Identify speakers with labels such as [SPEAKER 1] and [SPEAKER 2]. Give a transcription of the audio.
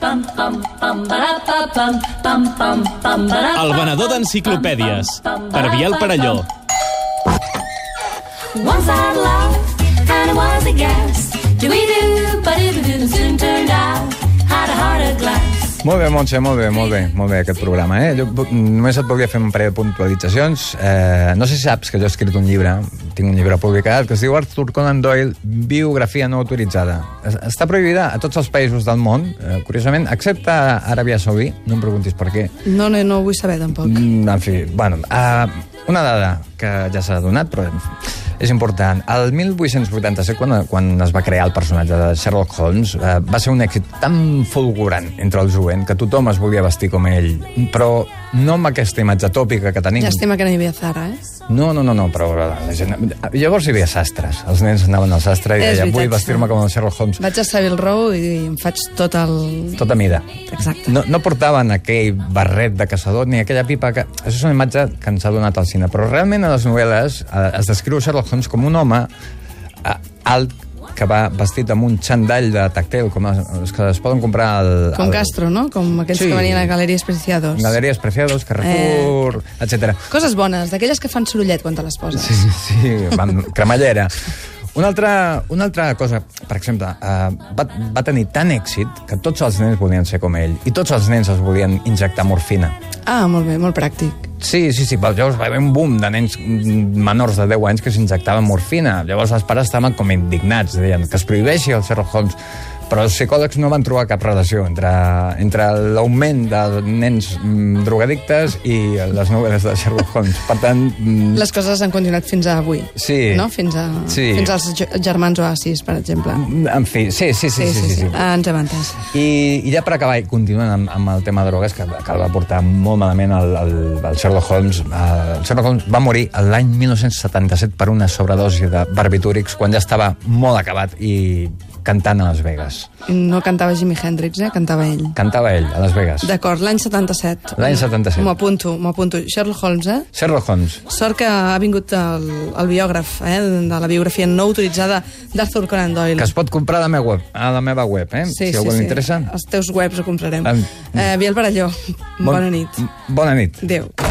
[SPEAKER 1] Pam, pam, pam, barà, pa, pam, pam, pam, pam, barà,
[SPEAKER 2] El venedor d'enciclopèdies, per Biel Parelló.
[SPEAKER 1] Once I loved, and it was a guess. Do we do, but it soon turned out. Had a heart of glass.
[SPEAKER 3] Molt bé, Montse, molt bé, molt bé, molt bé aquest programa. Eh? Jo pu- només et volia fer un parell de puntualitzacions. Eh, no sé si saps que jo he escrit un llibre, tinc un llibre publicat, que es diu Arthur Conan Doyle, biografia no autoritzada. Es- Està prohibida a tots els països del món, eh, curiosament, excepte a Aràbia Saudí, no em preguntis per què.
[SPEAKER 4] No, no, no ho vull saber, tampoc.
[SPEAKER 3] Mm, en fi, bueno, uh, una dada que ja s'ha donat, però és important. El 1887, quan, quan es va crear el personatge de Sherlock Holmes, uh, va ser un èxit tan fulgurant entre el jovent que tothom es volia vestir com ell, però no amb aquesta imatge tòpica que tenim.
[SPEAKER 4] Llàstima que no hi havia Zara, eh?
[SPEAKER 3] No, no, no, no, però la gent... Llavors hi havia sastres. Els nens anaven al sastre i
[SPEAKER 4] És
[SPEAKER 3] deien,
[SPEAKER 4] veritat,
[SPEAKER 3] vull vestir-me
[SPEAKER 4] sí.
[SPEAKER 3] com el Sherlock Holmes.
[SPEAKER 4] Vaig a Savile Row i em faig tot el...
[SPEAKER 3] Tota mida.
[SPEAKER 4] Exacte.
[SPEAKER 3] No, no portaven aquell barret de caçador ni aquella pipa que... Això és una imatge que ens ha donat al cine, però realment a les novel·les eh, es descriu Sherlock Holmes com un home eh, alt que va vestit amb un xandall de tactel, com els els que es poden comprar al...
[SPEAKER 4] Com
[SPEAKER 3] al-
[SPEAKER 4] Castro, no? Com aquells
[SPEAKER 3] Sí.
[SPEAKER 4] que venien a Galeries Preciados.
[SPEAKER 3] Galeries Preciados, Carrefour, eh... etc.
[SPEAKER 4] Coses bones, d'aquelles que fan sorollet quan te les poses.
[SPEAKER 3] Sí, sí, sí, amb cremallera. Una altra, una altra cosa, per exemple, eh, va, va tenir tant èxit que tots els nens volien ser com ell i tots els nens es volien injectar morfina.
[SPEAKER 4] Ah, molt bé, molt pràctic.
[SPEAKER 3] Sí, sí, sí, però llavors va haver un boom de nens mm, menors de 10 anys que s'injectaven morfina. Llavors els pares estaven com indignats, deien que es prohibeixi el Sherlock Holmes. Però els psicòlegs no van trobar cap relació entre, entre l'augment de nens mm, drogadictes i les novel·les de Sherlock Holmes. Per tant, mm,
[SPEAKER 4] Les coses han continuat fins a avui.
[SPEAKER 3] Sí.
[SPEAKER 4] No? Fins, a,
[SPEAKER 3] Sí.
[SPEAKER 4] fins als ge- germans Oasis, per exemple.
[SPEAKER 3] en fi, sí, sí, sí, sí, sí, sí, sí.
[SPEAKER 4] Ah, ens hem entès.
[SPEAKER 3] I, I ja per acabar, i continuant amb, amb el tema de drogues, que, que el va portar molt malament el, el, el Sherlock Holmes. eh, El Sherlock Holmes va morir l'any 1977 per una sobredosi de barbitúrics quan ja estava molt acabat i cantant a Las Vegas.
[SPEAKER 4] No cantava Jimi Hendrix, eh? Cantava ell.
[SPEAKER 3] Cantava ell, a Las Vegas. De...
[SPEAKER 4] D'acord, l'any 77.
[SPEAKER 3] L'any 77.
[SPEAKER 4] M'ho apunto, m'ho apunto. Sherlock Holmes, eh?
[SPEAKER 3] Sherlock Holmes.
[SPEAKER 4] Sort que ha vingut el, el biògraf, eh, de la biografia no autoritzada d'Arthur Conan Doyle.
[SPEAKER 3] Que es pot comprar a la meva web, a la meva web eh? si a algú li interessa.
[SPEAKER 4] Els teus webs ho comprarem.
[SPEAKER 3] Em-
[SPEAKER 4] Eh, Biel Baralló,
[SPEAKER 3] Bon-
[SPEAKER 4] bona nit.
[SPEAKER 3] Bona nit.
[SPEAKER 4] Adéu.